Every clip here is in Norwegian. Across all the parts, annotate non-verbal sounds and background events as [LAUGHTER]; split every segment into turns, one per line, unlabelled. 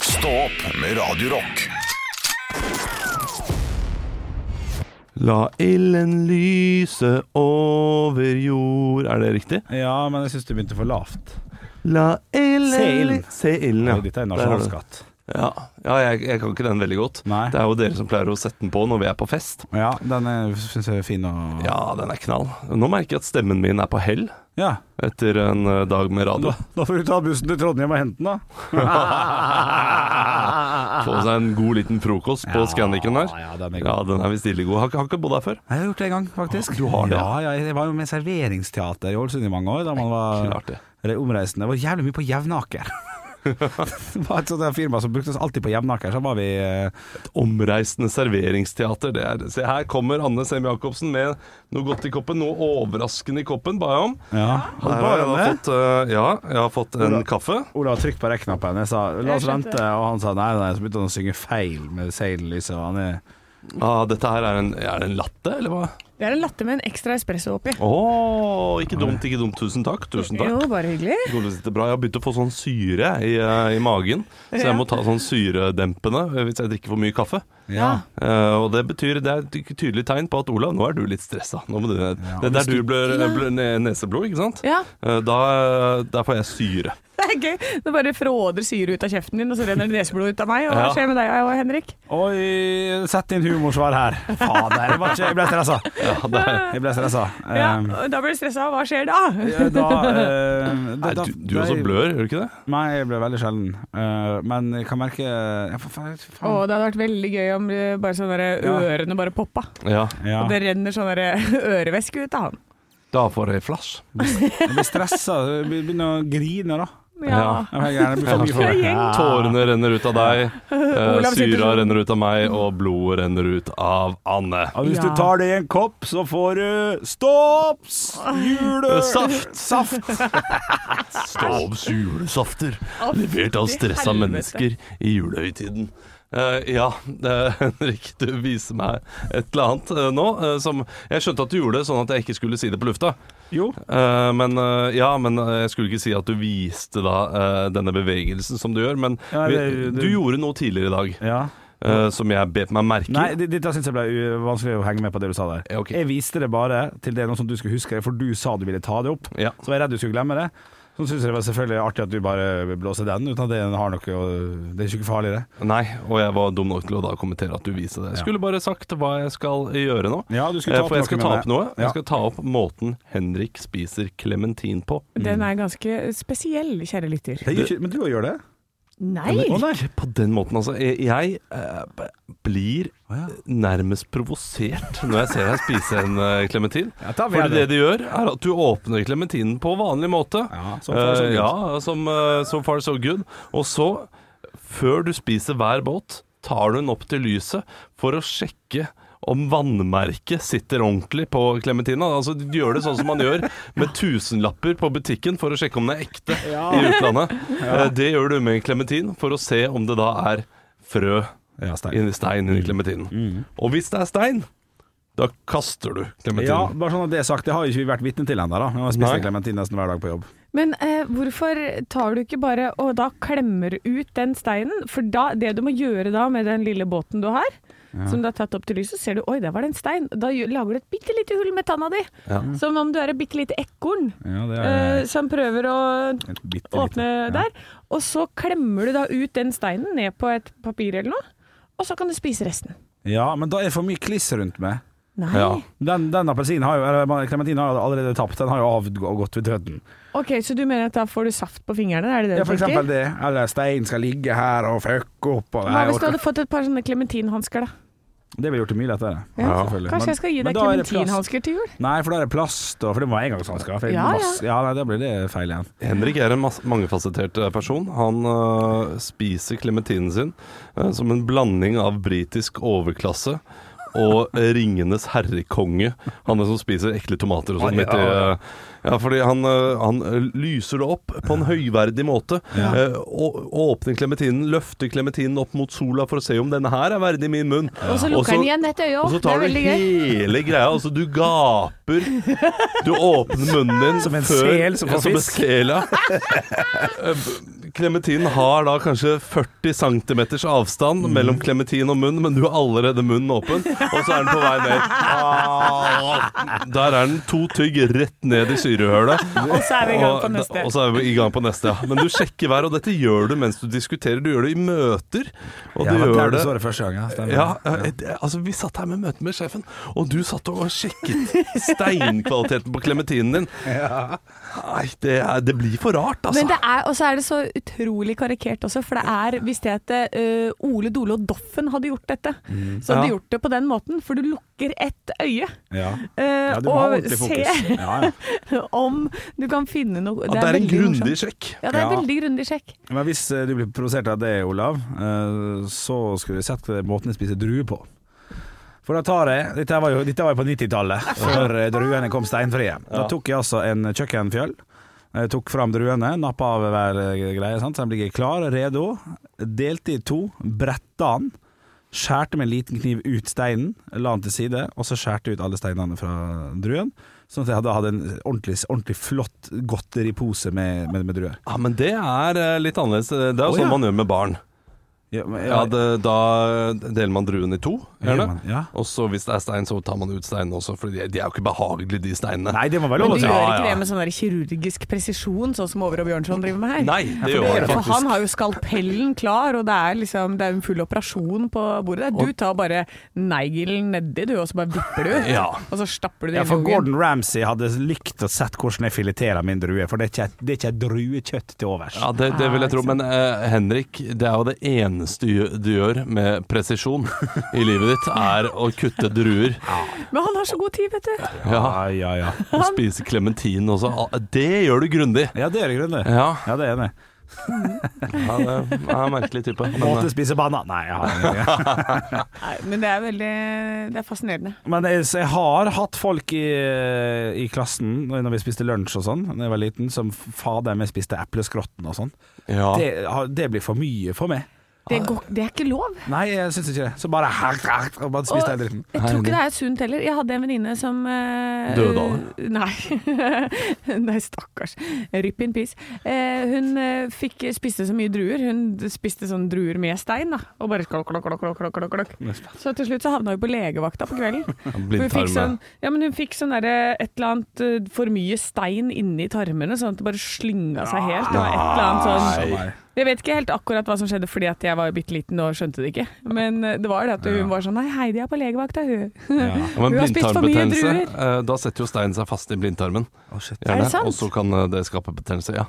Stå opp med Radio Rock.
La ilden lyse over jord Er det riktig?
Ja, men jeg syns du begynte for lavt.
La ilden
Se ilden.
Se ilden, ja.
Og Dette
Der har du
er
det.
nasjonalskatt.
Ja, ja jeg, jeg kan ikke den veldig godt.
Nei.
Det er jo dere som pleier å sette den på når vi er på fest.
Ja, den syns jeg er fin og
Ja, den er knall. Nå merker jeg at stemmen min er på hell
Ja.
etter en eh, dag med radio.
Da, da får du ta bussen til Trondheim og hente den, da.
Få seg en god liten frokost på
Ja,
Scandiken her.
ja, den er god.
Ja, den er visst ille god. Har, ikke- har ikke bodd her før.
Jeg har gjort det en gang, faktisk.
Du har det, ja.
Ja, ja, jeg var jo med i serveringsteater i Ålesund i mange år. Da man var
Klart det.
eller omreisende. Jeg var jævlig mye på
[LAUGHS]
Jevnaker. det var et sånt der firma som brukte oss alltid på Jevnaker. Så var vi eh,
Omreisende serveringsteater. Det er, se, her kommer Anne Sem Jacobsen med noe godt i koppen. Noe overraskende i koppen, ba jeg om.
ja,
Her har jeg da fått, eh, ja, jeg har fått en kaffe.
Olav trykk på rekknappen. Jeg sa 'la oss
Jeg skjønte
vente', og han sa nei, nei. Så begynte han å synge feil med seillyset. og Han er
Ah, dette her er en, er det en latte, eller hva?
Det er en latte med en ekstra espresso oppi.
Å, ikke dumt, ikke dumt. Tusen takk. Tusen takk.
Jo, bare hyggelig.
Det går litt bra. Jeg har begynt å få sånn syre i, eh, i magen, så jeg må ta sånn syredempende eh, hvis jeg drikker for mye kaffe.
Ja.
Eh, og det betyr Det er et ty- tydelig tegn på at Olav, nå er du litt stressa. Nå må du ned.
Ja,
det er
hvis
der du ble, ble ne- neseblod, ikke sant?
Ja,
Eh, Da, der får jeg syre.
det er gøy. Det bare fråder syre ut av kjeften din, og så renner det neseblod ut av meg. Og hva
Ja.
skjer med deg og Henrik?
Oi, sett inn humorsvar her. Fader, jeg, var ikke, jeg ble stressa.
Ja, det er,
Jeg ble stressa.
Ja,
Um,
og da blir du stressa, og hva skjer da?
ja, da, eh,
nei,
da-
du, du også
da-
blør, gjør du ikke det?
Nei, jeg ble veldig sjelden. Eh, men jeg kan merke ja, for faen,
Å,
faen.
det hadde vært veldig gøy om eh, bare sånne der
Ja.
ørene bare poppa.
Ja.
Ja.
Og det renner sånn der ørevæske ut av han.
Da får jeg flass.
Jeg blir stressa. Jeg begynner å grine, da.
Ja.
[LAUGHS] Ja.
Jeg blir gjerne- jeg blir for mye for det.
Tårene renner ut av deg, eh,
Ah. Olav sitter
syra
sånn.
renner ut av meg, og blodet renner ut av Anne.
Og hvis du
Ja.
tar det i en kopp, så får du stops! Jule...
Saft.
Saft.
Stavs julesafter,
Ah, Å,
levert av
fy
stressa
helvete.
mennesker i julehøytiden. Eh, ja, eh, [LAUGHS] Henrik, du viser meg et eller annet eh, nå. eh, som jeg skjønte at du gjorde det sånn at jeg ikke skulle si det på lufta.
Jo.
Eh, men eh, ja, men eh, jeg skulle ikke si at du viste da eh, denne bevegelsen som du gjør. Men
Ja,
vi,
det- det-
du gjorde noe tidligere i dag
Ja.
eh, som jeg bet meg merke i.
Nei, det- dette syns jeg ble u- vanskelig å henge med på det du sa der.
Ja, ok.
Jeg viste det bare til det noe som du skulle huske, for du sa du ville ta det opp.
Ja.
Så var jeg redd du skulle glemme det. Så syns jeg det var selvfølgelig artig at du bare blåser den, uten at det har noe å- Det er ikke farlig, det.
Nei, og jeg var dum nok til å da kommentere at du viste det. Jeg skulle bare sagt hva jeg skal gjøre nå.
Ja, du skulle
Eh,
ta opp
For jeg
noe
skal
med
ta
det.
opp noe.
Ja.
Jeg skal ta opp måten Henrik spiser klementin på.
Den er ganske spesiell, kjære lytter.
det gjør ikke, men du òg gjør det?
Nei!
Å nei.
Ikke på den måten, altså. Jeg, jeg eh, b- blir
Å, ja.
nærmest provosert når jeg ser deg spise en eh, klementin.
Ja, da vil jeg
Fordi det
det.
du gjør, er at du åpner klementinen på vanlig måte.
Ja, sånn som far, so
Eh,
good.
ja, som, eh, so far so good. Og så, før du spiser hver båt, tar du den opp til lyset for å sjekke om vannmerket sitter ordentlig på klementina. Altså, du gjør det sånn som man gjør med tusenlapper på butikken for å sjekke om den er ekte i utlandet. Eh, Det gjør du med en klementin for å se om det da er frø
Ja, stein.
inni stein
Mm.
inni klementinen. Og hvis det er stein, da kaster du
Ja,
klementinen.
bare sånn at det er sagt. Det har jo ikke vi vært vitne til ennå, da. Nå har jeg spist
Nei.
en klementin nesten hver dag på jobb.
Men eh, hvorfor tar du ikke bare og da klemmer ut den steinen? For da, det du må gjøre da med den lille båten du har, som du har tatt opp til lyset, ser du oi, der var det en stein. Da gjør- lager du et bitte lite hull med tanna di.
Ja.
Som om du er et bitte lite ekorn
Mm. Ja, det
eh,
er
som prøver å
et bitte lite-
åpne der. Og så klemmer du da ut den steinen ned på et papir eller noe, og så kan du spise resten.
Ja, men da er det for mye kliss rundt meg.
Nei.
Ja.
Den, den appelsinen har jo Eller klementinen har jo allerede tapt. Den har jo avd- og gått ved døden.
Ok, Så du mener at da får du saft på fingrene? Er det det
Ja,
du
for eksempel
tenker?
det. Eller stein skal ligge her og fucke opp og
Hva
Nei, jeg
hvis du
orker-
hadde fått et par sånne klementinhansker, da?
Det ville gjort det mye lettere.
Ja.
selvfølgelig. Men-
Kanskje jeg skal gi
men
deg
da er det plast.
klementinhansker til jul?
Nei, for da er det plast, og for det må jeg engangshansker. for det er
Ja, ja.
masse- ja, nei, da blir det feil igjen.
Henrik er en mas- mangefasettert eh, person. Han øh, spiser klementinen sin eh, som en blanding av britisk overklasse og Ringenes herrekonge. Han er som spiser ekle tomater og sånn midt i, eh, Ja, fordi han, eh, han lyser det opp på en høyverdig måte.
Ja.
Eh, å- åpner klementinen, løfter klementinen opp mot sola for å se om denne her er verdig min munn.
Og så lukker han igjen et øye
Og
òg.
så
Det
tar
er
du
veldig gøy.
hele greia. Altså, du gaper. Du åpner munnen din
Som en
før,
sel som får
Ja, en
fisk.
sel, ja. Eh, Clementinen har da kanskje 40 cm avstand
Mm.
mellom klementin og munn, men du har allerede munnen åpen, og så er den på vei ned. Ah, Der er den to tygg rett ned i syrehølet.
Og så er vi i gang på
Og-
neste.
Og så er vi i gang på neste, ja. Men du sjekker hver, og dette gjør du mens du diskuterer. Du gjør det i møter, og du
Ja, da
gjør
pleier du å
det
svare første gang, ja. Stemmer.
ja, ja, det- altså Vi satt her med møte med sjefen, og du satt og sjekket steinkvaliteten på klementinen din. Nei, det, er, det blir for rart, altså.
Men det er, og så er det så utrolig karikert også, for det er hvis det at eh, Ole Dole og Doffen hadde gjort dette, så hadde de
Mm. Ja.
gjort det på den måten, for du lukker ett øye
Ja.
eh,
Ja, du må ha
og
ordentlig fokus.
ser
Ja, ja.
[LAUGHS] om du kan finne noe.
At det er en
veldig
grundig
morsomt.
sjekk.
Ja, det er en
Ja.
veldig grundig sjekk.
Men hvis eh, du blir provosert av det, Olav, eh, så skulle du sett måten jeg spiser druer på. For da tar jeg Dette var jo, dette var jo på 90-tallet, før eh, druene kom steinfrie. Da tok jeg altså en kjøkkenfjøl. Jeg tok fram druene, nappa av hver eh, greie, sant? så de ligger klar, redo. Delte i to, bretta den. Skjærte med en liten kniv ut steinen, la den til side, og så skjærte jeg ut alle steinene fra druen. Sånn at jeg hadde, hadde en ordentlig, ordentlig flott, godt ripose med, med, med druer.
Ja, Men det er eh, litt annerledes. Det er jo
Å,
sånn
ja.
man gjør med barn.
Ja, men-
Ja, det, Da deler man druen i to, gjør
Gjør man,
det.
ja.
Og så hvis det er stein, så tar man ut steinene også, for de, de er jo ikke behagelige, de steinene.
Nei, det må være
Men
lov
du
å si.
gjør
Ja,
ikke
ja.
det med sånn der kirurgisk presisjon, sånn som Over og Bjørnson driver med her?
Nei, det gjør
For
man
det- For
faktisk.
han har jo skalpellen klar, og det er liksom Det er en full operasjon på bordet. Du tar bare neglen nedi, du, og så bare vipper du.
[LAUGHS] Ja.
Og så stapper du det
Ja,
inn i
for
ungen.
Gordon Ramsay hadde likt å sett hvordan jeg fileterer min drue, for det er ikke, det er ikke druekjøtt til overs.
Ja, det, det vil jeg tro. Men eh, Henrik, det er jo det eneste gjø- du gjør med presisjon i livet ditt, er å kutte druer.
Men han har så god tid, vet du.
Ja,
ja, ja. ja.
og spise klementin også. Ah, Det gjør du grundig.
Ja, det er det grunn, det.
Ja,
Ja, det er det.
ja det er en merkelig type. Men, eh,
Måte spise banan Nei, jeg har det ikke.
Nei, men det er veldig Det er fascinerende.
Men jeg, så jeg har hatt folk i, i klassen, når vi spiste lunsj og sånn, da jeg var liten, som fader meg spiste epleskrotten og sånn.
eh, ja.
Det, har- det blir for mye for meg.
Det, går, det er ikke lov.
Nei, jeg syns ikke det. Så bare [LAUGHS] og bare
Og
spiste jeg dritten.
jeg tror ikke det er sunt heller. Jeg hadde en venninne som eh,
Døde av
[LAUGHS] Nei. [LAUGHS] nei, stakkars. Rip in peace. Eh, hun eh, fikk spiste så mye druer. Hun spiste sånn druer med stein, da. Og bare klokk, klokk, klokk, klokk, klokk, klokk. Så til slutt så havna hun på legevakta
[LAUGHS]
på kvelden. For hun fikk sånn,
Blindtarm.
ja, men hun fikk sånn derre et eller annet eh, for mye stein inni tarmene, sånn at det bare slynga seg helt. Det var et eller annet sånn
Nei.
Jeg vet ikke helt akkurat hva som skjedde fordi at jeg var bitte liten og skjønte det ikke. Men eh, det var det at hun var sånn Nei, Heidi er på legevakta, hun.
Ja.
Ja, men
Hun har spist for mye
blindtarmbetennelse, eh, da setter jo steinen seg fast i blindtarmen.
Å, shit.
Er det
Gjerne.
sant?
Og så kan eh, det skape betennelse, ja.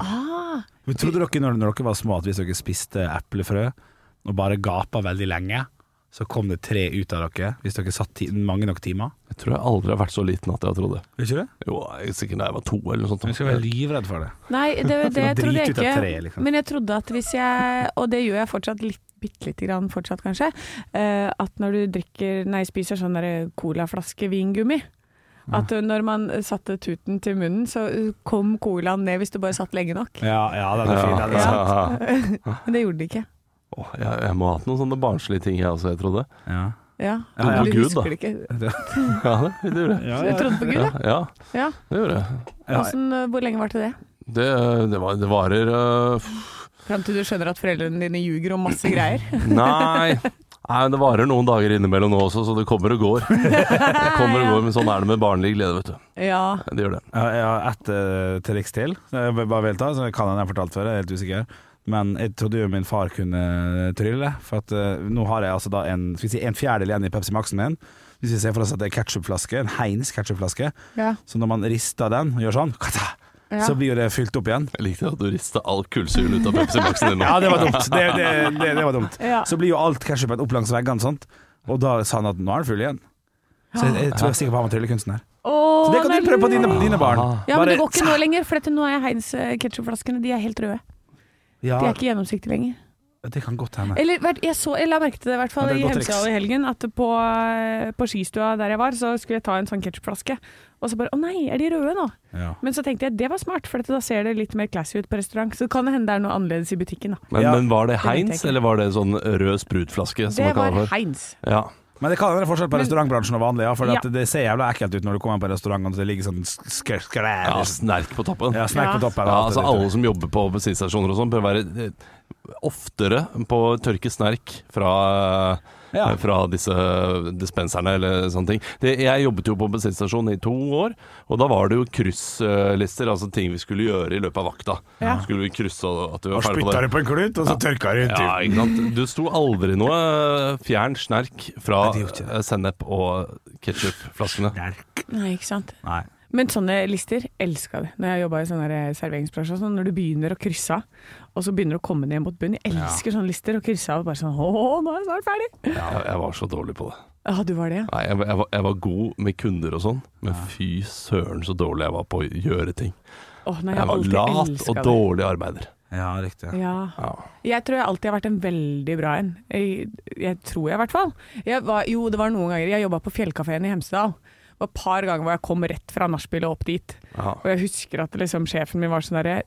Ah,
Men trodde dere når, når dere var små at hvis dere spiste eplefrø og bare gapa veldig lenge, så kom det tre ut av dere hvis dere satt ti mange nok timer?
Jeg tror jeg aldri har vært så liten at jeg har trodd det.
Ikke det?
Jo, jeg er sikkert da jeg var to eller noe sånt.
Du skal være livredd for det.
nei, det, det
Drit
trodde jeg
ut av
ikke.
treet, liksom.
Men jeg trodde at hvis jeg Og det gjør jeg fortsatt litt bitte lite grann fortsatt, kanskje. eh, at når du drikker Nei, spiser sånn derre colaflaske vingummi. At eh, når man eh, satte tuten til munnen, så eh, kom colaen ned hvis du bare satt lenge nok.
Ja, ja, den er fin.
Ja,
Den er
ja,
sant.
ja.
Men det gjorde de ikke.
Åh, jeg, jeg må ha hatt noen sånne barnslige ting jeg også, jeg trodde.
Ja.
Ja,
Ja, ja.
Du
Gud,
husker
da.
det ikke.
Ja, det, det gjorde jeg.
Ja,
Du trodde på Gud,
Ja,
ja?
ja,
ja.
det gjorde jeg.
Ja.
Hvordan, eh, hvor lenge varte det?
Det, det, var, det varer øh,
Fram til du skjønner at foreldrene dine ljuger om masse greier.
[LAUGHS]
Nei. Nei, det varer noen dager innimellom nå også, så det kommer og går. Det kommer og går, Men sånn er det med barnlig glede, vet du.
Ja.
Det gjør det.
Jeg har ett eh, triks til. Jeg vil bare velta, så kan han jeg har fortalt før, jeg er helt usikker. Men jeg trodde jo min far kunne trylle, for at eh, nå har jeg altså da en, skal vi si, en fjerdedel igjen i Pepsi Max-en min. Hvis vi ser for oss at det er ketchupflaske, en Heinz ketchupflaske,
ja.
så når man rister den og gjør sånn, kata,
Ja.
så blir jo det fylt opp igjen.
Jeg likte at du rista all kullsyren ut av Pepsi Max-en din nå.
Ja, det var dumt. Det, det, det, det var dumt.
Ja.
Så blir jo alt ketchupen opp langs veggene, sant? og da sa han at nå er den full igjen. Så jeg, jeg tror jeg er sikker på han var tryllekunstner.
Åh,
Så det kan
nei,
du prøve på dine,
lurt.
dine barn.
Ah.
Ja, men det
Bare-
går ikke nå lenger, for dette, nå eh, er Heinz ketchupflaskene De er helt røde.
Ja,
De er ikke gjennomsiktige lenger.
Det kan godt hende.
Eller vært- jeg, så, jeg la merke til det i hvert fall
Ja, det er et
i
godt triks.
Hemsedal i helgen, at på, eh, på skistua der jeg var, så skulle jeg ta en sånn ketsjupflaske. Og så bare Å nei, er de røde nå?
Ja.
Men så tenkte jeg det var smart, for at da ser det litt mer classy ut på restaurant. Så det kan hende det er noe annerledes i butikken, da.
Men,
Ja.
men var det
vet jeg
Heinz,
ikke.
eller var det sånn rød sprutflaske? Som man
Det var
kaller for?
Heinz.
Ja.
Men det kan være forskjell på
Men-
restaurantbransjen og vanlig, ja, for
Ja.
at det ser jævla ekkelt ut når du kommer på restaurant og det ligger sånn sk- sk- skræ-
ja, snerk på toppen.
ja, snakk
Ja.
på toppen.
Ja, altså Alle som jobber på bensinstasjoner og sånn, bør være eh, oftere på å tørke snerk fra,
Ja.
eh, fra disse dispenserne eller sånne ting. Det, jeg jobbet jo på bensinstasjon i to år, og da var det jo krysslister, altså ting vi skulle gjøre i løpet av vakta.
Ja.
Skulle vi krysse og at vi
Og
var ferdig på
spytta
det.
du på en klut, og så tørka du ut.
Ja, ikke sant? Du sto aldri noe eh, fjern snerk fra
Nei, det gjorde ikke det.
eh, sennep og ketsjupflaskene.
Nei, ikke sant.
Nei.
Men sånne lister elska det. Når jeg jobba i sånne der serveringsbransjer, og sånn, når du begynner å krysse av, og så begynner du å komme ned mot bunnen. Jeg elsker sånne lister, og krysse av og bare sånn Å, nå er jeg snart ferdig!
Jeg, jeg var så dårlig på det.
Ja, du var det, ja.
Nei, jeg, var- jeg, var, jeg var god med kunder og sånn, men fy søren så dårlig jeg var på å gjøre ting.
Å, nei, jeg
Jeg
har
var
alltid
lat
elsket
og
det.
dårlig arbeider.
Ja, riktig.
Ja.
Ja.
Jeg tror jeg alltid har vært en veldig bra en. Jeg, jeg tror jeg, i hvert fall. Jeg var, jo, det var noen ganger. Jeg jobba på Fjellkafeen i Hemsedal. Det var et par ganger hvor jeg kom rett fra nachspielet opp dit.
Ja.
Og jeg husker at liksom, sjefen min var sånn derre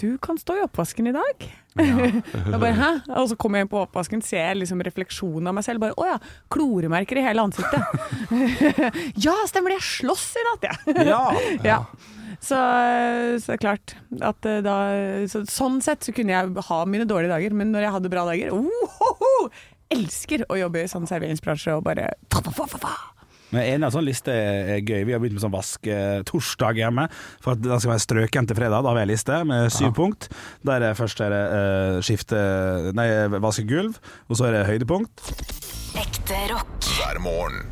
Du kan stå i oppvasken i dag. [LAUGHS] jeg bare, Hæ? Og så kommer jeg inn på oppvasken, ser jeg liksom refleksjonen av meg selv. Bare, Å ja, kloremerker i hele ansiktet. [LAUGHS] ja, stemmer det. Jeg sloss i natt, jeg.
Ja.
[LAUGHS]
Ja. Så, eh, så er det klart at eh, da så, Sånn sett så kunne jeg ha mine dårlige dager, men når jeg hadde bra dager oh, ho, ho, Elsker å jobbe i sånn serveringsbransje og bare ta, ta, ta, ta, ta.
Men en av sånne lister er gøy. Vi har begynt med sånn vask eh, torsdag hjemme. For at den skal være strøken til fredag. Da har vi en liste med syv punkt. Der er først er det eh, skifte Nei, vaske gulv. Og så er det høydepunkt.
Ekte rock.
hver morgen.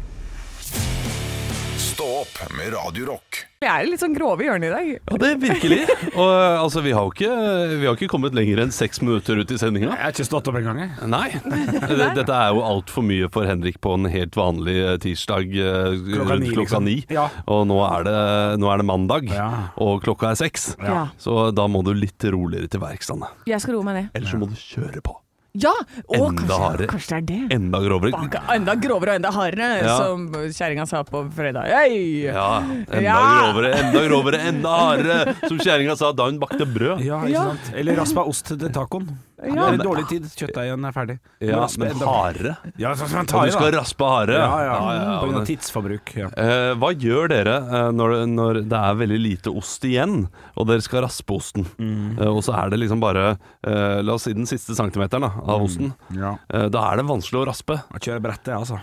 Stå opp med Radio Rock.
Vi er litt sånn grove i hjørnet i dag.
ja, det er virkelig. Og eh, altså, vi har jo ikke, vi har ikke kommet lenger enn seks minutter ut i sendinga.
har ikke stått opp engang, jeg.
Nei. [LAUGHS] Det- Dette er jo altfor mye for Henrik på en helt vanlig eh, tirsdag eh,
Klokka ni,
rundt klokka
liksom.
ni.
Ja.
Og nå er, det, nå er det mandag,
Ja.
og klokka er seks.
Ja.
Så da må du litt roligere til verks, Anne.
Jeg skal roe meg ned.
Ellers så må du kjøre på.
Ja! Å,
Enda
kanskje,
hardere.
kanskje det er det.
Enda grovere.
Baka, enda grovere og enda hardere,
Ja.
som kjerringa sa på fredag. Hey!
Ja, enda
Ja!
grovere, enda grovere, enda hardere, som kjerringa sa da hun bakte brød.
Ja, ikke
Ja.
sant. Eller raspa ost til tacoen.
Ja.
Det er dårlig tid. Kjøttdeigen er ferdig.
Ja,
Raspe
men
enda-
hardere.
Ja, så skal man ta
Og
i,
du skal
da.
raspe hardere.
Ja, ja.
ja,
På grunn
men-
av tidsforbruk. Ja.
Eh, hva gjør dere eh, når, når det er veldig lite ost igjen, og dere skal raspe osten? Eh, og så er det liksom bare eh, La oss si den siste centimeteren da, av osten.
Ja.
Eh, da er det vanskelig å raspe.
Jeg kjører brettet, altså.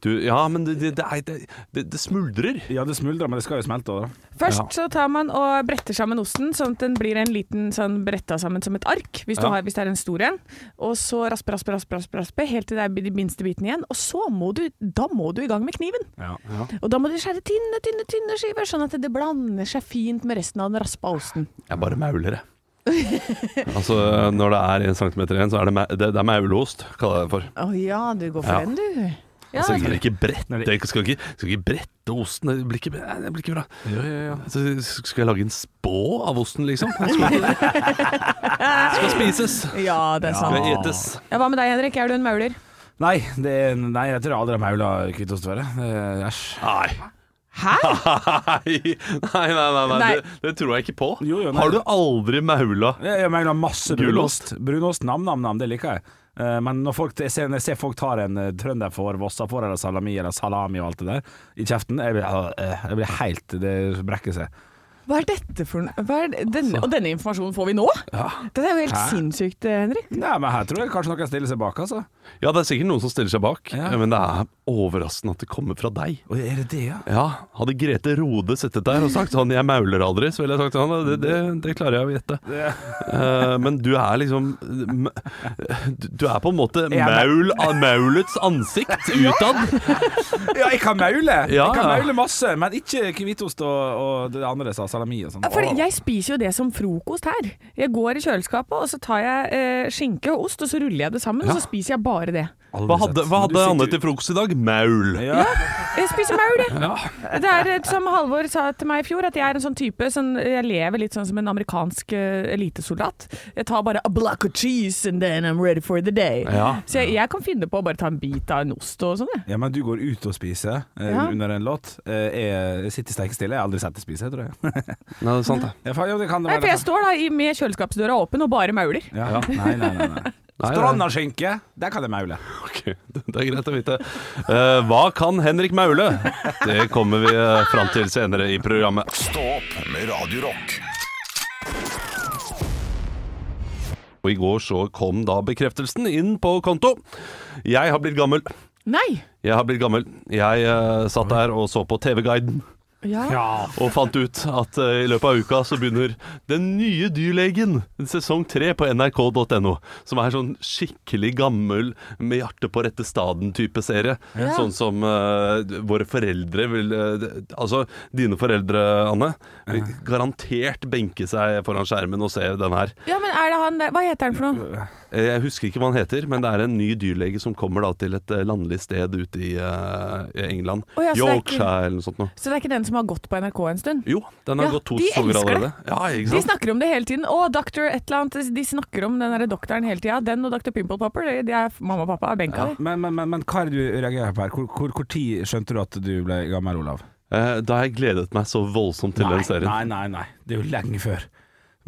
Du, ja, men det, det, det, er- det, det, det smuldrer.
Ja, det smuldrer, men det skal jo smelte òg, da.
Ja.
Først så tar man og bretter sammen osten, sånn at den blir en liten sånn bretta sammen som et ark, hvis, du
Ja.
har, hvis det er en stor en. Og så raspe, raspe, raspe, raspe, raspe helt til det er de minste bitene igjen. Og så må du, da må du i gang med kniven.
Ja.
Og da må du skjære tynne, tynne, tynne skiver, sånn at det blander seg fint med resten av den raspa osten.
Jeg bare mauler, jeg. [LAUGHS] altså, når det er én centimeter igjen, så er det, ma det, det er maulost, kaller jeg det for.
Å ja, du går for
Ja.
den, du. Ja,
Altså, jeg skal ikke brette, jeg skal ikke, skal ikke brette osten. Det blir ikke, nei, det blir ikke bra. Så skal jeg lage en spå av osten, liksom? Den Skal, skal spises.
[LAUGHS] ja det er sant.
Skal etes.
Ja, hva med deg, Henrik? Er du en mauler?
Nei, det, er- nei, jeg tror jeg aldri har maula hvitost før. jeg. Det er- Æsj.
Nei.
Hæ?
Nei, nei, nei, nei,
Nei.
Det, det tror jeg ikke på.
Jo, jo, nei.
Har du aldri maula?
Jeg, jeg mangler masse
Gulost.
brunost. Brunost, nam, nam, nam, det liker jeg. Eh, Men når, folk, jeg ser, når jeg ser folk tar en eh, trønderfår, vossafår eller salami eller salami og alt det der i kjeften, jeg blir, eh, jeg blir helt Det brekker seg.
Hva er dette for noe? Hva er denne-
Altså.
Og denne informasjonen får vi nå? Det er jo helt
Hæ?
sinnssykt, eh, Henrik.
Nei, men her tror jeg kanskje noen stiller seg bak, altså.
Ja, det er sikkert noen som stiller seg bak, eh,
Ja.
men det er overraskende at det kommer fra deg.
Oi, er det det, ja?
Ja, Hadde Grete Rode sittet der og sagt sånn 'jeg mauler aldri', så ville jeg sagt sånn Det, det, det klarer jeg å gjette. Eh, men du er liksom m- Du du er på en måte
Jeg er ma-
maul, av maulets ansikt utad.
Ja, jeg kan maule!
Ja,
jeg
[LAUGHS]
kan
ja.
maule masse, men ikke hvitost og, og det andre jeg sa. salami og sånn.
Ja, For
Åh.
jeg spiser jo det som frokost her. Jeg går i kjøleskapet, og så tar jeg eh, skinke og ost, og så ruller jeg det sammen, og så spiser jeg bare det.
Aldri
Hva hadde,
sett.
hva
Men du
hadde Anne
sitter-
til frokost i dag? Maul.
Ja.
Jeg spiser maur, jeg. Det er eh, som Halvor sa til meg i fjor, at jeg er en sånn type som Jeg lever litt sånn som en amerikansk eh, elitesoldat. Jeg tar bare a block of cheese and then I'm ready for the day.
Ja.
Så jeg, jeg kan finne på å bare ta en bit av en ost og sånn, jeg.
ja, men du går ut og spiser eh,
Ja.
under en låt. Eh, jeg- jeg sitter steikestille. Jeg har aldri sett deg spise, tror jeg. [LAUGHS]
Nei, det er sant, det.
Ja, faen, jo, det kan det
Nei, for
være.
jeg står da i- med kjøleskapsdøra åpen og bare mauler.
Ja. Nei, nei, nei.
[LAUGHS]
nei.
nei.
Strandaskinke, der kan jeg maule.
Ok, Det er greit å vite. Eh, hva kan Henrik Maule? Det kommer vi eh, fram til senere i programmet.
Stå opp med Radio Rock.
Og i går så kom da bekreftelsen inn på konto. Jeg har blitt gammel.
Nei!
Jeg har blitt gammel. Jeg eh, satt der og så på TV-guiden.
Ja.
Og fant ut at eh, i løpet av uka så begynner Den nye dyrlegen, sesong tre på nrk.no. Som er sånn skikkelig gammel, med hjertet på rette staden-type serie.
Ja.
Sånn som eh, våre foreldre vil eh, d- Altså, dine foreldre, Anne, vil garantert benke seg foran skjermen og se den her.
ja, men er det han der Hva heter han for noe?
Eh, Jeg husker ikke hva han heter, men det er en ny dyrlege som kommer da til et eh, landlig sted ute i eh, i England.
Å ja, så det er ikke-
Yorkshire eller noe sånt noe.
Så det er ikke den som har gått på NRK en stund?
Jo, den har
Ja,
gått to
de
sesonger
elsker det.
allerede. Ja, ikke
De
sant?
snakker om det hele tiden. Å, Dr. et eller annet. De snakker om den der doktoren hele tida. Den og Dr. Pimple Popper, det- de er mamma og pappa er benka. de.
Men, men, men, men hva er det du reagerer på her? Hvor, hvor, hvor tid skjønte du at du ble gammel, Olav?
Eh, Da har jeg gledet meg så voldsomt til den serien.
Nei, nei, nei. Det er jo lenge før.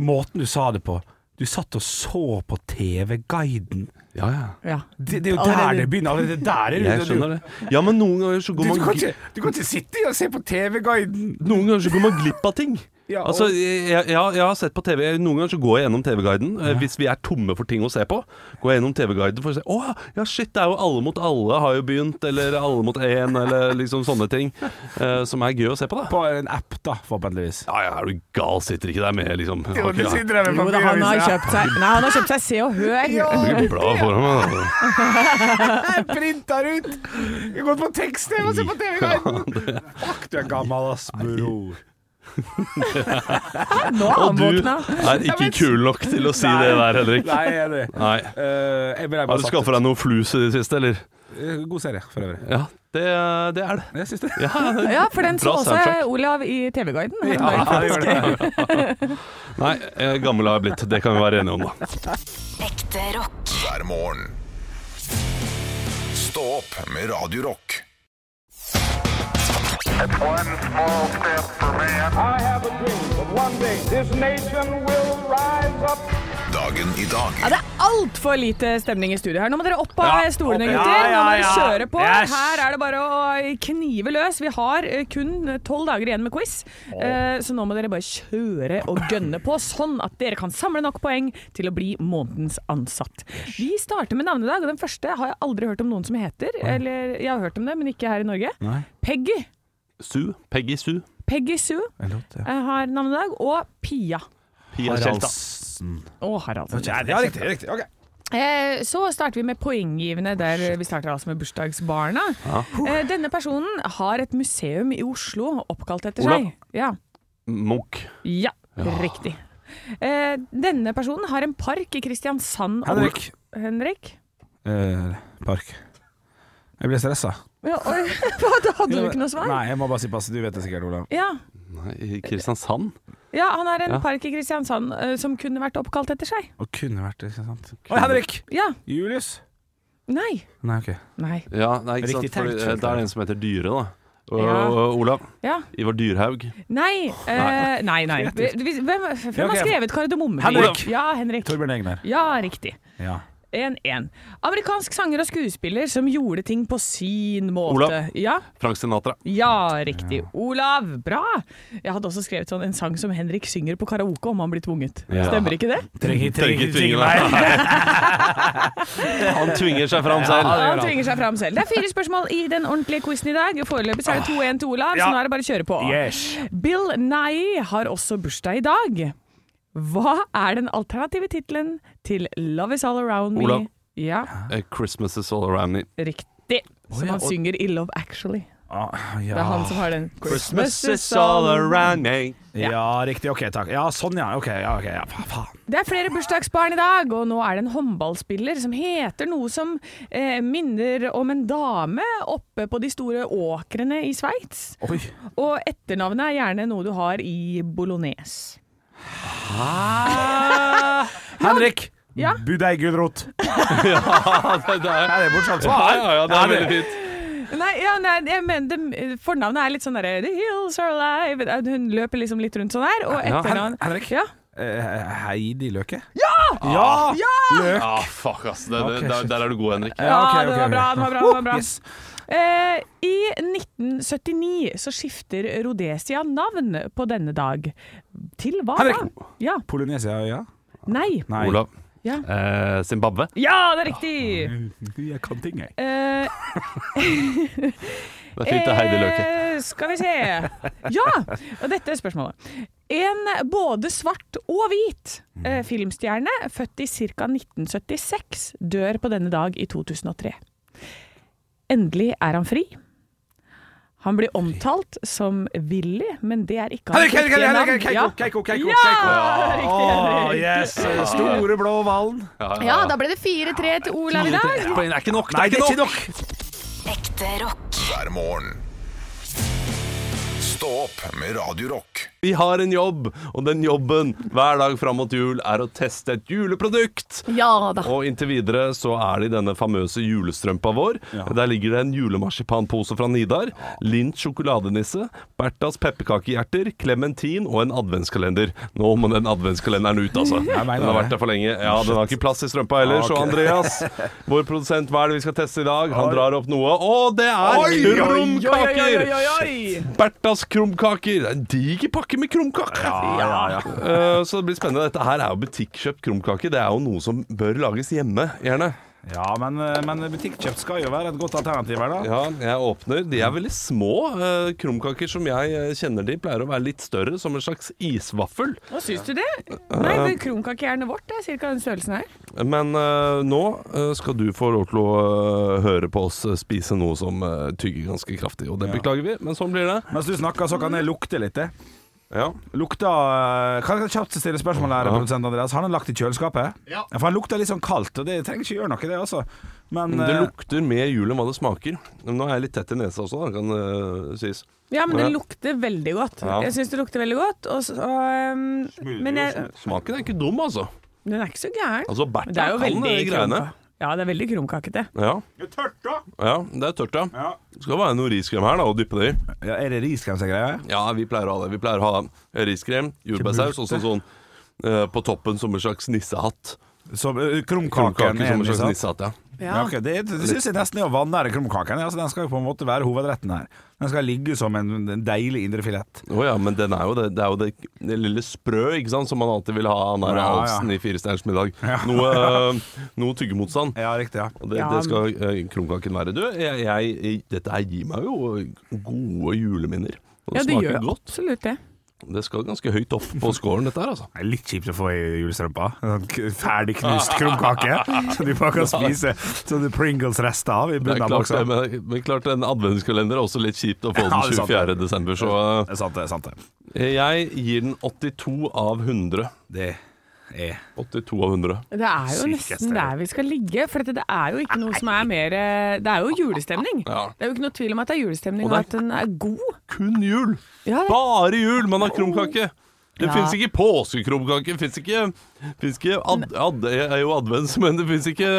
Måten du sa det på. Du satt og så på TV-guiden.
Ja, ja.
Ja.
Det, det er jo
Allerede-
der det begynner. Allerede der er
Jeg skjønner det. Ja, men noen ganger så går
Du, du, kan
man,
ikke, du kan ikke sitte og se på TV-guiden.
noen ganger så går man glipp av ting.
Ja, og-
altså, jeg, jeg, jeg har sett på TV Noen ganger så går jeg gjennom TV-guiden eh, hvis vi er tomme for ting å se på. Går jeg gjennom TV-guiden for å se Å ja, shit, det er jo Alle mot alle har jo begynt, eller Alle mot én, eller liksom sånne ting. eh, som er gøy å se på, da.
På en app, da, forhåpentligvis.
Ja, ja, er du gal? Sitter ikke der med, liksom.
Jo,
Ok,
du
da.
sitter der med
Jo da, han har
papiravisa.
kjøpt seg Nei, han har kjøpt seg Se og Hør.
Jeg blir glad for meg,
[LAUGHS]
da.
Jeg printer ut! Jeg har gått på tekst-TV og ser på TV-guiden! Fuck, du er gammel, ass, bror.
Nå har han
Og du
våkna.
er ikke kul nok til å si
Nei.
det der, Henrik.
Nei, jeg er det.
Nei.
Eh, jeg ble bare
Har du
satt ut.
skaffa deg noe flus i det siste, eller?
Eh, God serie, for øvrig.
Ja, det, det er det.
Jeg syns det.
Ja,
Ja, for den så
Bra
også
soundtrack.
Olav i TV-guiden. her om dagen.
Ja, det gjør det.
Nei, eh, gammel har jeg blitt. Det kan vi være enige om, da.
Ekte rock.
hver morgen. Stå opp med Radio Rock.
One small step for man.
I have a dream that one day this nation will rise up.
Dagen i dag
Ja, det er altfor lite stemning i studio her. Nå må dere opp av
Ja,
stolene,
opp.
gutter.
Ja,
Nå
ja,
må dere
ja.
kjøre på.
Yes.
Her er det bare å eh, knive løs. Vi har eh, kun tolv dager igjen med quiz, Eh, så nå må dere bare kjøre og gønne på, sånn at dere kan samle nok poeng til å bli månedens ansatt. Vi starter med navnedag, og den første har jeg aldri hørt om noen som heter. Eller jeg har hørt om det, men ikke her i Norge.
Nei.
Peggy.
Su. Peggy Su.
Peggy Sue
En låt, ja.
eh, har navnedag, og Pia.
Pia Tjelta.
Haraldsen.
Og Harald.
Ja, riktig. riktig. Ok.
Eh, Så starter vi med poenggivende, der vi starter altså med bursdagsbarna. Eh, Denne personen har et museum i Oslo oppkalt etter
Olav.
seg. Ja.
Munch.
ja, riktig. Eh, Denne personen har en park i Kristiansand. og-
Henrik.
Henrik?
Eh, park. Jeg ble stressa.
Ja, oi, [LAUGHS] hva, da hadde du ikke noe svar?
Nei, jeg må bare si pass. Du vet det sikkert, Olav.
Ja.
Nei, i Kristiansand?
ja, han har en
Ja.
park i Kristiansand eh, som kunne vært oppkalt etter seg.
Og kunne vært det, ikke sant. Oi, Henrik!
Ja.
Julius.
Nei.
Nei, ok.
Nei.
Ja, nei, ikke
Riktig
sant. Fordi,
tenkt,
eh,
Kjell.
det er en som heter Dyre, da. Og,
Ja.
og Olav.
Ja.
Ivar Dyrhaug.
Nei. Eh, nei, nei. Vi- vi- Hvem, hvem har
ok.
skrevet Kardemomme?
Henrik.
Ja, Henrik.
Torbjørn Egner.
Ja, riktig.
Ja.
1-1. Amerikansk sanger og skuespiller som gjorde ting på sin måte.
Olav.
Ja,
Frank Sinatra.
ja riktig. Olav, bra! Jeg hadde også skrevet sånn en sang som Henrik synger på karaoke om han blir tvunget.
Ja.
Stemmer ikke det?
Trenger
Trenger ikke tvinge deg. [LAUGHS] Han tvinger seg fram selv.
Han tvinger seg fram selv. Det er fire spørsmål i den ordentlige quizen i dag. Foreløpig
Ah.
så er det 2-1 til Olav, så nå er det bare å kjøre på.
Yes.
Bill Nye har også bursdag i dag. Hva er den alternative tittelen til Love Is All Around Me?
Olav.
Ja,
Eh, Christmas is all around me.
riktig. Som
ja,
han
og-
synger i Love Actually.
Ah,
Det er
ja.
han som har den.
me.
ja, riktig. Ok, takk. Ja, sånn, ja. Ok, ja, ok, ja. Fa- faen.
Det er flere bursdagsbarn i dag, og nå er det en håndballspiller som heter noe som eh, minner om en dame oppe på de store åkrene i Sveits.
Oi.
Og etternavnet er gjerne noe du har i bolognese.
[LAUGHS] Henrik!
Ah. Ja.
Bud deg gulrot.
Ja, det, det er,
Her er bortsett
ja,
fra
ja, ja, det er veldig fint.
Nei, ja, nei jeg mener, det, fornavnet er litt sånn derre The hills are alive. Hun løper liksom litt rundt sånn her. Og
Ja,
etternavn
Henrik?
Ja.
Eh, Heidi Løke? Ja! Ja! Løk.
Ah, fuck, ass. Det,
Ok,
det, der,
shit.
der er du god, Henrik.
Ja,
ok, ok,
det var
ok.
bra. det var bra, det var bra.
Yes.
Eh, I 1979 så skifter Rhodesia navn på denne dag. Til hva
Henrik.
da? Ja.
Polynesia, ja?
Nei.
Nei.
Olav.
Ja.
Eh, Zimbabwe.
Ja, det er riktig!
[LAUGHS] Jeg kan ting, jeg.
Eh,
Det er fint det er Heidi Løke.
eh, skal vi se Ja! Og dette er spørsmålet. En både svart og hvit
Mm.
eh, filmstjerne, født i ca. 1976, dør på denne dag i 2003. Endelig er han fri. Han blir omtalt som Willy, men det er ikke
Henrik, Henrik,
hans riktige
Henrik,
navn.
Henrik, Keiko,
Ja.
Keiko, Keiko,
Ja!
Keiko.
Riktig,
Åh,
Henrik.
yes. Store blå hvalen.
Ja, da ble det 4-3 til Olav i dag.
Ett poeng er ikke nok.
Nei, det er ikke
nok.
nok.
Ekte rock.
hver morgen. Stå opp med Radio Rock.
Vi har en jobb, og den jobben hver dag fram mot jul er å teste et juleprodukt.
Ja da.
Og inntil videre så er det i denne famøse julestrømpa vår. Der ligger det en julemarsipanpose fra Nidar, Lint sjokoladenisse, Bertas pepperkakehjerter, klementin og en adventskalender. Nå må den adventskalenderen ut, altså. Den har
mener det.
vært der for lenge. Ja, den har ikke plass i strømpa heller, så
Ok.
Andreas, vår produsent, hva er det vi skal teste i dag? Han drar opp noe, og det er krumkaker! Bertas krumkaker. Det er En diger pakke med krumkaker. Eh, så det blir spennende. Dette her er jo butikkjøpt krumkake. Det er jo noe som bør lages hjemme, gjerne.
Ja, men, eh, men butikkjøpt skal jo være et godt alternativ her, da.
Ja, jeg åpner. De er veldig små. eh, krumkaker som jeg eh, kjenner de, pleier å være litt større, som en slags isvaffel.
Hva syns du det? Nei,
Uh,
det Krumkakehjernet vårt det er ca. den størrelsen her.
Men eh, nå eh, skal du få lov til å eh, høre på oss eh, spise noe som eh, tygger ganske kraftig. Og det beklager vi, men sånn blir det.
Mens du snakker, så kan jeg lukte litt. jeg.
Ja.
Lukta eh, Kan jeg kjapt stille spørsmål her, produsent Andreas? Har han lagt i kjøleskapet? Ja. For han lukta litt sånn kaldt, og det trenger ikke gjøre noe, det, altså. Men
Det
eh,
lukter mer jul enn hva det smaker. Nå er jeg litt tett i nesa også, da, kan eh, sies.
Ja, men det
Ja.
lukter veldig godt.
Ja.
Jeg syns det lukter veldig godt. Og så, øhm, men jeg,
Smaken er ikke dum, altså.
den er ikke så gæren.
Altså,
Men
Bertha
det er jo
kan de
veldig
greiene.
krumka- Ja, det er veldig krumkakete.
Ja.
Det er tørt, da.
ja, det er tørt, ja.
Ja.
Det skal være noe riskrem her, da, og dyppe det i.
eh, Ja, er det riskrem som er greia?
Ja, vi pleier å ha det. Vi pleier å ha riskrem, jordbærsaus og så sånn eh, på toppen som en slags nissehatt.
Som eh, krumkaken
Krumkake
er
som en
en
slags
sant?
nissehatt, ja.
Ja. ok, det det syns jeg nesten er å vanære krumkaken. Altså, den skal jo på en måte være hovedretten her. Den skal ligge som en, en deilig indrefilet.
Å ja, men den er jo det, det er jo det, det lille sprø, ikke sant, som man alltid vil ha av Nara
Ja, ja.
Halsen i Fire stjerners middag. Noe,
[LAUGHS]
eh, noe tyggemotstand.
Ja, riktig. ja
Og det,
Ja,
det skal eh, krumkaken være. Du, jeg, jeg, dette her gir meg jo gode juleminner. Og det,
Ja, det
smaker
gjør
godt.
absolutt det.
Det skal ganske høyt opp på scoren, dette her,
[LAUGHS]
altså.
Det er litt kjipt å få i julestrømpa. En k- Ferdig knust krumkake som du bare
[LAUGHS]
kan spise sånne Pringles-rester av i
Det er
bunnen av
klart,
boksa.
det,
Det
men, men klart en adventskalender er også litt kjipt å få
[LAUGHS] Ja,
den
det er sant.
24. desember, så
er sant, det er sant. det.
eh, jeg gir den 82 av 100.
Det er
82 av 100.
Det er jo
Sykeste.
nesten der vi skal ligge. For det, det er jo ikke noe som er mer eh, Det er jo julestemning.
Ja.
Det er jo ikke noe tvil om at det er
Og
julestemning, og
det
at den er god.
Kun jul!
Ja, det-
Bare jul! Man har krumkake. Det
Ja.
finnes fins ikke påskekrumkake. Fins ikke, finnes ikke ad, ad, Det er jo advents, men det fins ikke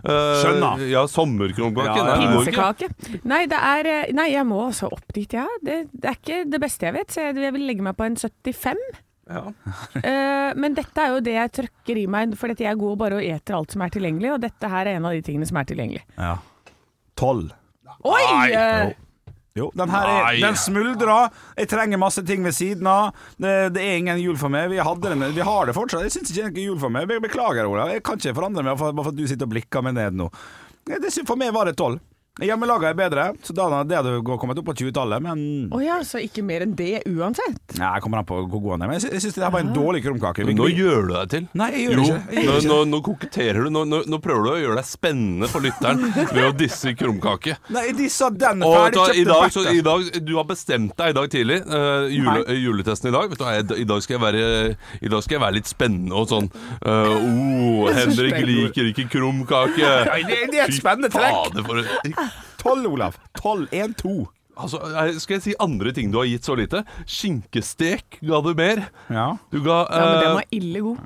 eh,
Skjønna.
Ja, sommerkrumkake.
Ja, ja,
Nei, det går ikke.
Pinsekake. Nei, det er, eh, nei, jeg må også opp dit, jeg. Ja. Det, det er ikke det beste jeg vet, så jeg, jeg vil legge meg på en 75.
Ja.
[LAUGHS] Eh, men dette er jo det jeg trøkker i meg, for dette jeg går bare og eter alt som er tilgjengelig, og dette her er en av de tingene som er tilgjengelig.
ja. tolv.
Oi! eh,
Jo, den her er,
Nei.
den smuldrer. Jeg trenger masse ting ved siden av. Det, det er ingen jul for meg. Vi, hadde den, vi har det fortsatt. Jeg syns ikke det er jul for meg. Be- Beklager, Olav. Jeg kan ikke forandre meg for- bare for at du sitter og blikker meg ned nå. Jeg- Det, sy- for meg var det tolv. Hjemmelaga er bedre, så da det hadde jo kommet opp på 20-tallet, men
Å ja, så ikke mer enn det uansett?
Nei, jeg kommer an på hvor god han er. Men jeg sy- jeg syns det her var en dårlig krumkake. Vi-
Nå
vi-
gjør du deg til.
Nei, jeg gjør
jo,
ikke det. Jeg gjør
nå,
ikke
nå, nå koketterer du. Nå, nå, nå prøver du å gjøre deg spennende for lytteren ved å disse krumkake.
Nei, de sa den
Og vet du, hva,
ferdigkjøpte
i dag, så,
vettet.
i dag, Du har bestemt deg i dag tidlig. eh, jule, eh, juletesten i dag. Vet du, hva, jeg, I dag skal jeg være I dag skal jeg være litt spennende og sånn eh,
[LAUGHS]
oh, Henrik liker ikke krumkake.
Nei, det- det er et
Fy
spennende trekk.
fader, for et-
12, Olav. 12, 1, 2.
Altså, eh, skal jeg si andre ting du har gitt så lite? Skinkestek ga du mer.
Ja.
Du ga
Ja, men
eh,
den var ille god.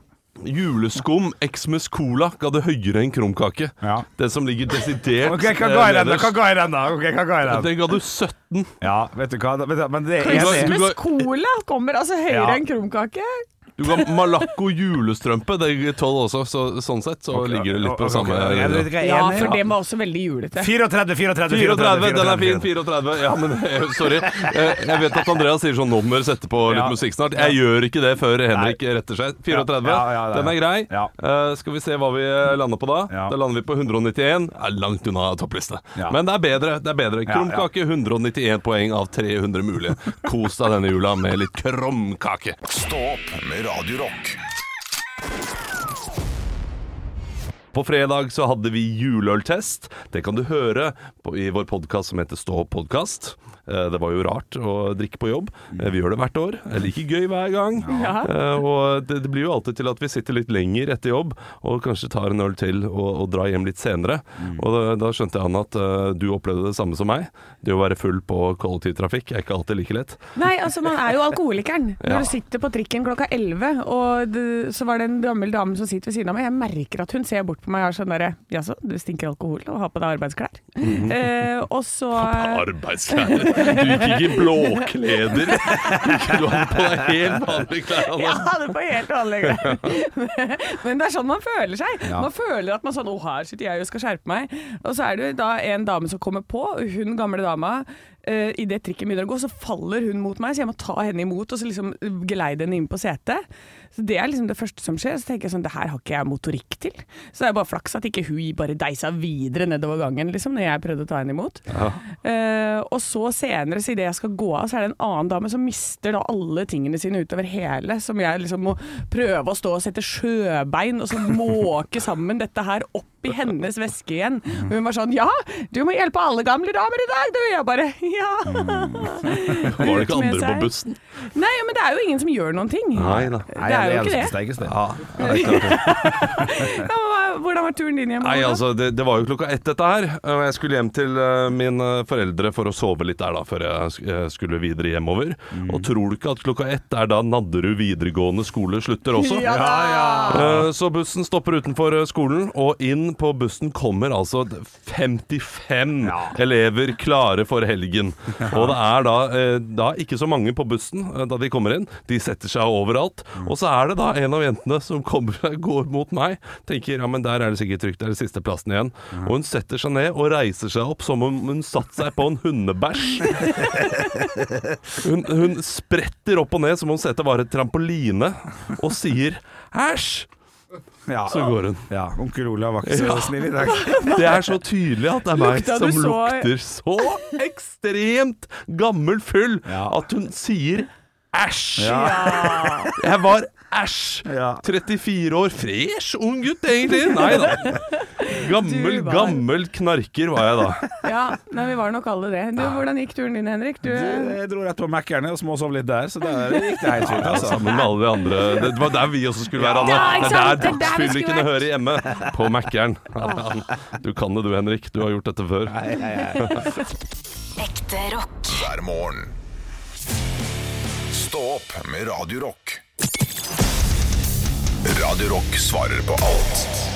Juleskum, Xmus Cola ga det høyere enn krumkake.
Ja.
Det som ligger desidert
Ok, hva
eh,
ga jeg den, da?
nederst.
Hva ga jeg den, da? Ok, hva ga jeg den?
Den ga du 17.
Ja, vet du hva, da- vet du, men det er
Kan
enig.
du-
Christmas cola kommer altså høyere
Ja.
enn krumkake.
Du ga Malaco julestrømpe. Det er 12 også, så sånn sett så ligger det litt på
Ok,
samme
ok,
greie.
jeg vet ikke hva jeg er
Ja,
enig i.
for det var også veldig julete.
34, 34,
34, den er fin. 34. Ja, men eh, sorry. Eh, Jeg vet at Andreas sier sånn 'nå må dere sette på litt
Ja.
musikk snart'. Jeg gjør ikke det før Henrik retter seg. 34,
Ja, ja, ja, ja.
den er grei.
Ja.
Eh, Skal vi se hva vi eh, lander på da?
Ja.
Da lander vi på 191. Er langt unna toppliste.
Ja.
Men det er bedre. det er bedre
Ja, ja.
Krumkake 191 poeng av 300 mulige. Kos deg denne jula med litt krumkake.
Stå opp med Radio Rock.
På fredag så hadde vi juleøltest. Det kan du høre på, i vår podkast som heter Stå podkast. Eh, Det var jo rart å drikke på jobb. Eh, Vi gjør det hvert år. Det er like gøy hver gang. Eh, Og det, det blir jo alltid til at vi sitter litt lenger etter jobb og kanskje tar en øl til og, og drar hjem litt senere.
Mm.
Og da, da skjønte jeg, Anne, at eh, du opplevde det samme som meg. Det å være full på kollektivtrafikk er ikke alltid like lett.
Nei, altså man er jo alkoholikeren. Når du sitter på trikken klokka 11, og det, så var det en gammel dame som sitter ved siden av meg. Jeg merker at hun ser bort på meg og er sånn derre Jaså, du stinker alkohol og har på deg arbeidsklær. Eh, og så
Arbeidsklær. Du gikk ikke i blåkleder. Du hadde på deg helt vanlige klær. Anne.
Ja, det var helt annerledes. Men- Men det er sånn man føler seg. Man føler at man sånn Å, her sitter jeg og skal skjerpe meg. Og så er det jo da en dame som kommer på, og hun gamle dama eh, i Idet trikken begynner å gå, så faller hun mot meg, så jeg må ta henne imot og så liksom geleide henne inn på setet. Så Det er liksom det første som skjer. Så tenker jeg sånn, det her har ikke jeg motorikk til. Så det er bare flaks at ikke hun bare deisa videre nedover gangen liksom, når jeg prøvde å ta henne imot. Eh, og så senere, så idet jeg skal gå av, så er det en annen dame som mister da alle tingene sine utover hele, som jeg liksom må prøve å stå og sette sjøbein og så måke sammen dette her opp i hennes veske igjen. Og hun var sånn Ja, du må hjelpe alle gamle damer i dag, du! Jeg bare Ja.
Var det
Ut
ikke
med
andre
seg.
på bussen?
Nei, men det er jo ingen som gjør noen ting.
Nei da.
Nei,
Det er jo
det
ikke
som
det.
steikes det.
Ja, men hva- hvordan var turen din hjem?
Nei,
Olav?
altså, det, det var jo klokka ett dette her. Og jeg skulle hjem til eh, mine foreldre for å sove litt der, da, før jeg sk- eh, skulle videre hjemover. Og tror du ikke at klokka ett er da Nadderud videregående skole slutter også?
Ja da!
Eh, Så bussen stopper utenfor eh, skolen, og inn på bussen kommer altså d- 55 elever klare for helgen. Og det er da, eh, da ikke så mange på bussen eh, da de kommer inn. De setter seg overalt. Og så er det da en av jentene som kommer seg går mot meg. Tenker ja, men der er det sikkert trygt, det er det siste plassen igjen. Og hun setter seg ned og reiser seg opp som om hun satt seg på en hundebæsj. Hun, hun spretter opp og ned som om setet var et trampoline, og sier æsj.
Ja.
Så går hun.
Ja, onkel Olav var ikke så
Ja.
snill i
[LAUGHS]
dag.
Det er så tydelig at det er meg
Lukta
som
du så-
lukter så ekstremt gammel fyll
Ja.
at hun sier æsj.
Ja.
Jeg var æsj.
Ja.
34 år, fresh ung gutt egentlig. Nei da. Gammel,
Du var-
gammel knarker var jeg da.
ja. Nei, vi var nok alle det. Du, hvordan gikk turen din, Henrik? Du,
Jeg dro rett på Mækkerne og småsov litt der, så der gikk det helt fint.
Ja,
Altså.
sammen med alle de andre. Det var der vi også skulle være, Anne.
Ja, ikke
det er der
sant? Det er der vi
dagsfyllet
skulle
kunne
vært.
høre hjemme. På Mækkern. Du kan det du, Henrik. Du har gjort dette før.
Ekte rock.
hver morgen. Stå opp med Radio Rock. Radio Rock svarer på alt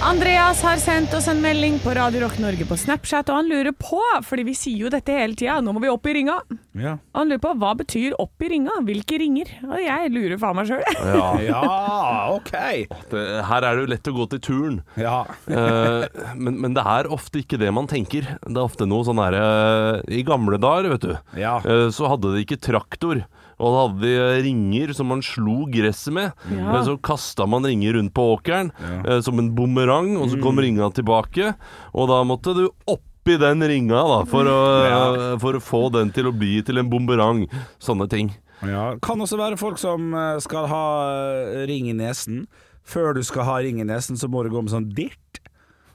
Andreas har sendt oss en melding på Radio Rock Norge på Snapchat, og han lurer på, fordi vi sier jo dette hele tida, nå må vi opp i ringa.
Ja.
Og han lurer på hva betyr opp i ringa, hvilke ringer? Og jeg lurer faen meg sjøl.
ja, OK.
Det, her er det jo lett å gå til turn.
Ja.
Eh, men, men det er ofte ikke det man tenker. Det er ofte noe sånn herre I gamle dager, vet du,
Ja.
eh, så hadde de ikke traktor. Og da hadde de eh, ringer som man slo gresset med.
Ja.
Eh, Så kasta man ringer rundt Mm. på åkeren eh, som en bumerang, og så kom ringa tilbake. Og da måtte du opp opp i den ringa da, for å, eh, for å få den til å bli til en bomberang. Sånne ting.
Ja, kan også være folk som eh, skal ha eh, ring i nesen. Før du skal ha ring i nesen, så må du gå med sånn dirt.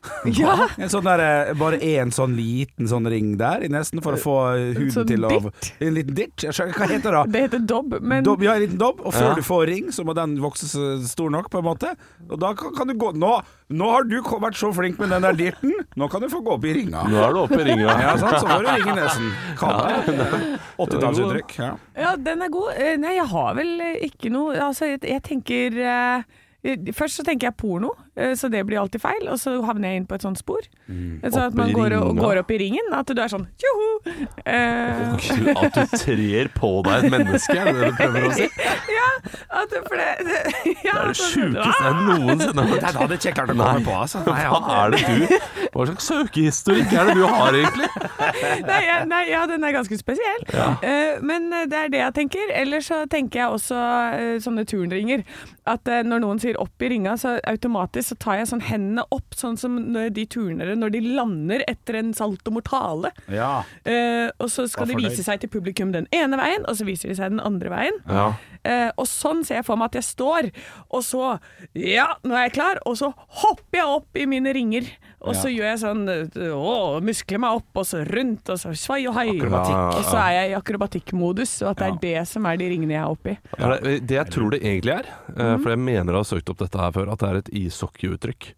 [LAUGHS] Ja.
[LAUGHS] En sånn der, eh, bare én sånn liten sånn ring der i nesen for å få eh, huden
sånn
til å
dirt?
En liten dirt? Jeg skjønner, hva heter
[LAUGHS]
det? da?
Det heter dobb, men
Dobb, ja, en liten dobb, og før
Ja.
du får ring, så må den vokse s- stor nok, på en måte. Og da kan, kan du gå Nå, nå har du ko- vært så flink med den der dirten, nå kan du få gå opp i ringa.
Nå er du oppe i ringa.
Ja, sant? Så får du ring i nesen. Kan det.
[LAUGHS]
80-tallsuttrykk. Ja.
Ja, den er god. Eh, Nei, jeg har vel eh, ikke noe Altså, jeg, jeg tenker eh, eh, Først så tenker jeg porno, eh, så det blir alltid feil. Og så havner jeg inn på et sånt spor. Så
Mm. Opp
at
i
man går, og,
ringa.
går opp i ringen. At du er sånn tjoho! Eh,
At du trer på deg et menneske, er det det du prøver å si?
[LAUGHS] ja, at det- for det, [LAUGHS] det
Det
ja,
er det
sånn-
sjukeste jeg noensinne har hørt.
Nei, det hadde jeg ikke klart å komme på, altså. Nei, ja.
Hva er det du Hva slags søkehistorikk er det du har, egentlig?
nei, ja, nei, ja, den er ganske spesiell. Eh, men eh, det er det jeg tenker. Ellers så tenker jeg også eh, sånne turnringer. At eh, når noen sier 'opp i ringa', så automatisk så tar jeg sånn hendene opp, sånn som når de turnere når de lander etter en salto mortale.
Ja.
Eh, og så skal de
fornøyd.
vise seg til publikum den ene veien, og så viser de seg den andre veien.
Ja.
Eh, og sånn ser jeg for meg at jeg står, og så Ja, nå er jeg klar! Og så hopper jeg opp i mine ringer. Og så gjør jeg sånn eh, Å, muskler meg opp, og så rundt, og så svai og hei.
Akrobatikk.
Og så er jeg i akrobatikkmodus, og at det er det som er de ringene jeg er oppi.
Er det, det jeg tror det egentlig er, eh, for jeg mener jeg har søkt opp dette her før, at det er et ishockeyuttrykk.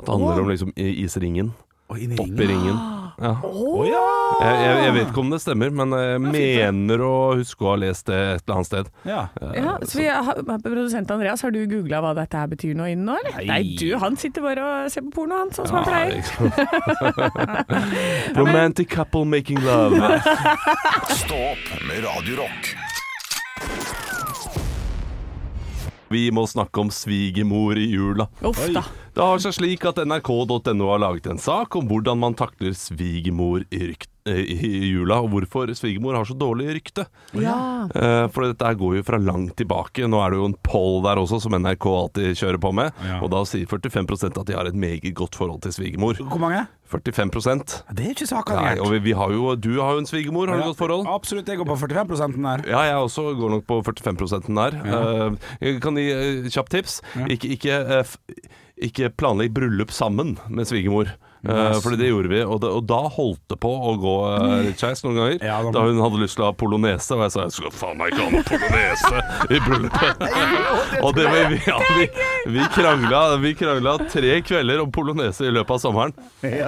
At det handler om liksom i- isringen.
Og inn i
Opp i
ringen.
ringen. Ja.
Å ja!
Jeg, jeg, jeg vet ikke om det stemmer, men jeg mener å huske å ha lest det et eller annet sted.
Ja.
Ja, så vi har, Produsent Andreas, har du googla hva dette her betyr nå innen nå, eller?
Nei.
Nei, du, han sitter bare og ser på porno, han, sånn som han
Nei,
pleier.
ikke sant.
[LAUGHS]
Romantic couple making love.
Stå opp med Radio Rock.
Vi må snakke om svigermor i jula.
Uff da.
Det har seg slik at nrk.no har laget en sak om hvordan man takler svigermor i, rykt, eh, i jula, og hvorfor svigermor har så dårlig rykte.
Ja.
Eh, For dette her går jo fra langt tilbake. Nå er det jo en poll der også, som NRK alltid kjører på med.
Ja.
Og da sier 45 at de har et meget godt forhold til svigermor.
Hvor mange?
45
Det er ikke så
Nei, og vi, vi har jo, Du har jo en svigermor, har du godt forhold?
Absolutt, jeg går på 45 der.
Ja, jeg også går nok på 45 der. Eh, Jeg kan gi eh, kjapt tips. Ikke, ikke, eh, f- ikke planlegg bryllup sammen med svigermor. Uh, for det gjorde vi, og, da- og da holdt det på å gå eh, litt skeis noen ganger.
Ja, da-
da hun hadde lyst til å ha polonese, og jeg sa jeg skulle faen meg ikke ha noe polonese i bryllupet. og det, var- vi, ja, vi, vi, krangla, vi krangla tre kvelder om polonese i løpet av sommeren. Eh,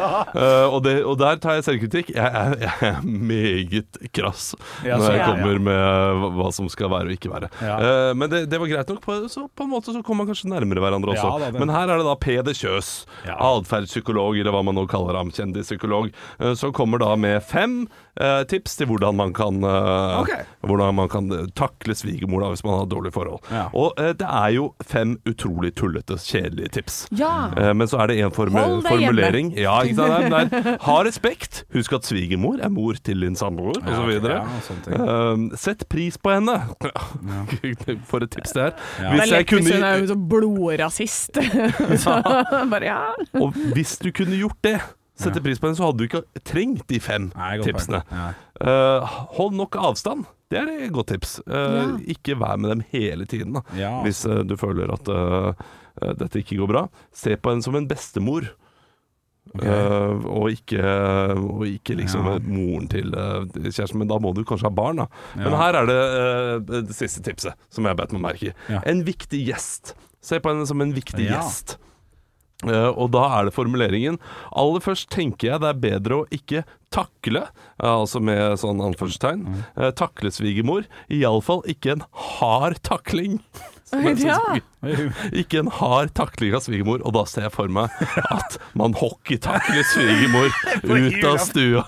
og, det, og der tar jeg selvkritikk. Jeg er, jeg er meget krass
Ja,
når
så-
jeg
ja,
kommer
ja.
med hva- hva som skal være og ikke være.
Ja.
Eh, men det, det var greit nok. På, så på en måte så kom man kanskje nærmere hverandre også.
Ja, da, det-
men her er det da Peder Kjøs,
Ja.
atferdspsykolog, eller hva man nå kaller ham, kjendispsykolog, eh, som kommer da med fem eh, tips til hvordan man kan, eh,
Ok.
hvordan man kan eh, takle svigermor da, hvis man har dårlige forhold.
Ja.
Og eh, det er jo fem utrolig tullete, kjedelige tips.
Ja.
Eh, Men så er det en formu
Hold deg
formulering ja, ikke sant? Nei, men det er, Ha respekt. Husk at svigermor er mor til din samboer,
Ja,
osv.
ja, sånne ting.
Eh, Sett pris på henne. [LAUGHS] For et tips det er.
Det
Hvis
er
jeg
lett hvis hun er
kunne,
jo så blodrasist.
[LAUGHS]
så [LAUGHS] bare ja.
og hvis du kunne gjort det, sette pris på henne, så hadde du ikke trengt de fem
Nei,
[LAUGHS]
godt poeng.
tipsene.
Nei.
Eh, hold nok avstand. Det er et godt tips. Eh,
Ja.
Ikke vær med dem hele tiden da.
Ja.
hvis eh, du føler at eh, eh, dette ikke går bra. Se på henne som en bestemor. Eh, og ikke, og ikke liksom
Ja.
moren til eh, kjæresten, men da må du kanskje ha barn. da Men her er det eh, det siste tipset som jeg bet meg merke i.
Ja.
En viktig gjest. Se på henne som en viktig
Ja.
gjest. Eh, og da er det formuleringen Aller først tenker jeg det er bedre å ikke takle, eh, altså med sånn anførselstegn, eh, takle svigermor. Iallfall ikke en hard takling. [LAUGHS] Som jeg synes
Ja.
er gøy. Ikke en hard takling av svigermor, og da ser jeg for meg at man hockeytakler svigermor ut av stua.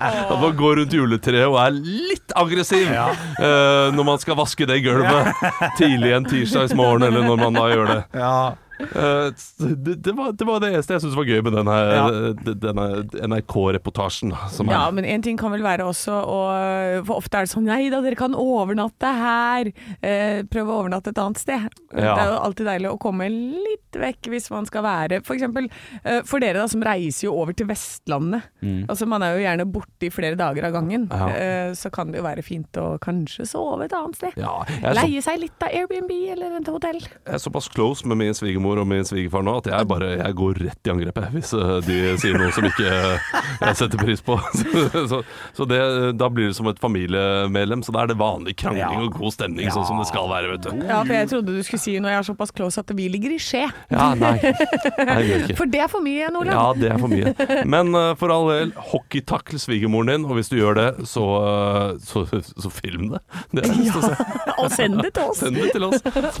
At man går rundt juletreet og er litt aggressiv eh, når man skal vaske det gulvet tidlig en tirsdagsmorgen, eller når man da gjør det.
Ja.
Eh, s- det, det, var, det var det eneste jeg syntes var gøy med denne, eh,
Ja.
d- denne NRK-reportasjen. som er-
Ja, men en ting kan vel være også å For ofte er det sånn Nei da, dere kan overnatte her. Eh, prøv å overnatte et annet sted.
Ja.
Det er jo alltid deilig å komme litt vekk hvis man skal være For eksempel eh, for dere da, som reiser jo over til Vestlandet. Altså Man er jo gjerne borte i flere dager av gangen.
Mm. Ja.
Eh, så kan det jo være fint å kanskje sove et annet sted.
Ja, jeg, er så,
Leie seg litt av Airbnb eller et hotell.
jeg er såpass close med min svigermor og min svigerfar nå at jeg bare jeg går rett i angrep jeg, hvis eh, de sier noe som ikke eh, jeg setter pris på. [LAUGHS] Så, så, så det, da blir det som et familiemedlem, så da er det vanlig krangling og god stemning, sånn som det skal være, vet du.
Ja, for jeg trodde du skulle si når jeg er såpass close at vi ligger i skje.
Ja, nei. nei jeg gjør ikke.
For det er for mye, Olav.
Ja, det er for mye. Men eh, for all del, hockeytakle svigermoren din, og hvis du gjør det, så, eh, så, så film det. Det er det eneste å se.
Og send det til oss.
[LAUGHS] Send det til oss.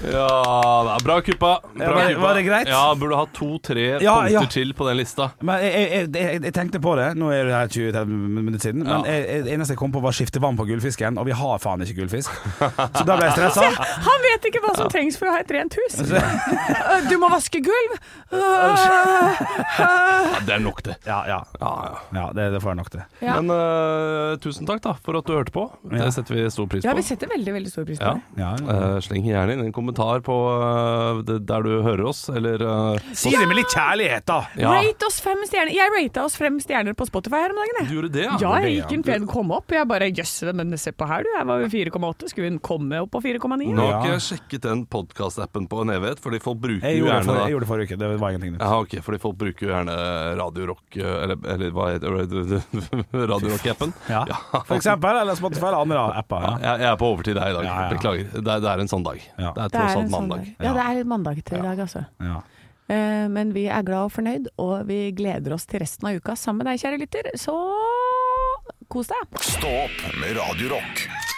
Ja, det er bra kuppa. Bra
Ja, var-
kuppa.
var det greit?
Ja, burde ha to-tre
Ja,
punkter
ja.
til på den lista.
Men jeg, jeg, jeg, jeg tenkte på det, nå er det her 20-30 minutter siden, men jeg, jeg, det eneste jeg kom på var å skifte vann på gullfisken, og vi har faen ikke gullfisk. Så
[LAUGHS]
da ble jeg stressa.
Han vet ikke hva som trengs for å ha et rent hus. Øh, Du må vaske gulv. Øh,
Ja, det er nok, det.
Ja, ja.
Ja, ja.
ja det, det får jeg nok til.
Ja.
Men eh, tusen takk da for at du hørte på. Det
Ja.
setter vi stor pris på.
Ja, vi setter veldig veldig stor pris på
Ja.
det.
Ja, ja.
Eh, sleng gjerne inn en kommentar på eh, det- der du hører oss, eller eh,
Si det med litt kjærlighet, da!
Ja,
Rate oss fem stjerner. Jeg rata oss fem stjerner på Spotify her om dagen.
du
jeg.
gjorde det,
Ja, jeg gikk en pen kom opp. Jeg bare jøss, men se på her du. Jeg var jo 4,8. Skulle hun komme opp på 4,9?
Nå har
Ja.
ikke jeg sjekket den podkastappen på en evighet, fordi folk bruker
Jeg
jo
gjorde, det
gjerne
for, jeg
da.
gjorde det forrige uke, det var ingenting nytt.
Ja, ok, fordi folk bruker jo gjerne Radio Rock eh, Eller, eller hva heter det? [LAUGHS] Radio Rock-appen.
Ja. For eksempel, eller Spotify eller andre apper. Ja.
Jeg, jeg er på overtid her i dag.
Ja, ja.
Beklager. Det er, det er en sånn dag.
Ja.
Det er tross alt
sånn
mandag.
Ja, det er mandag til i dag, altså.
Ja.
Eh, Men vi er glad og fornøyd, og vi gleder oss til resten av uka sammen med deg, kjære lytter. Så kos deg.
Stå opp med Radio Rock.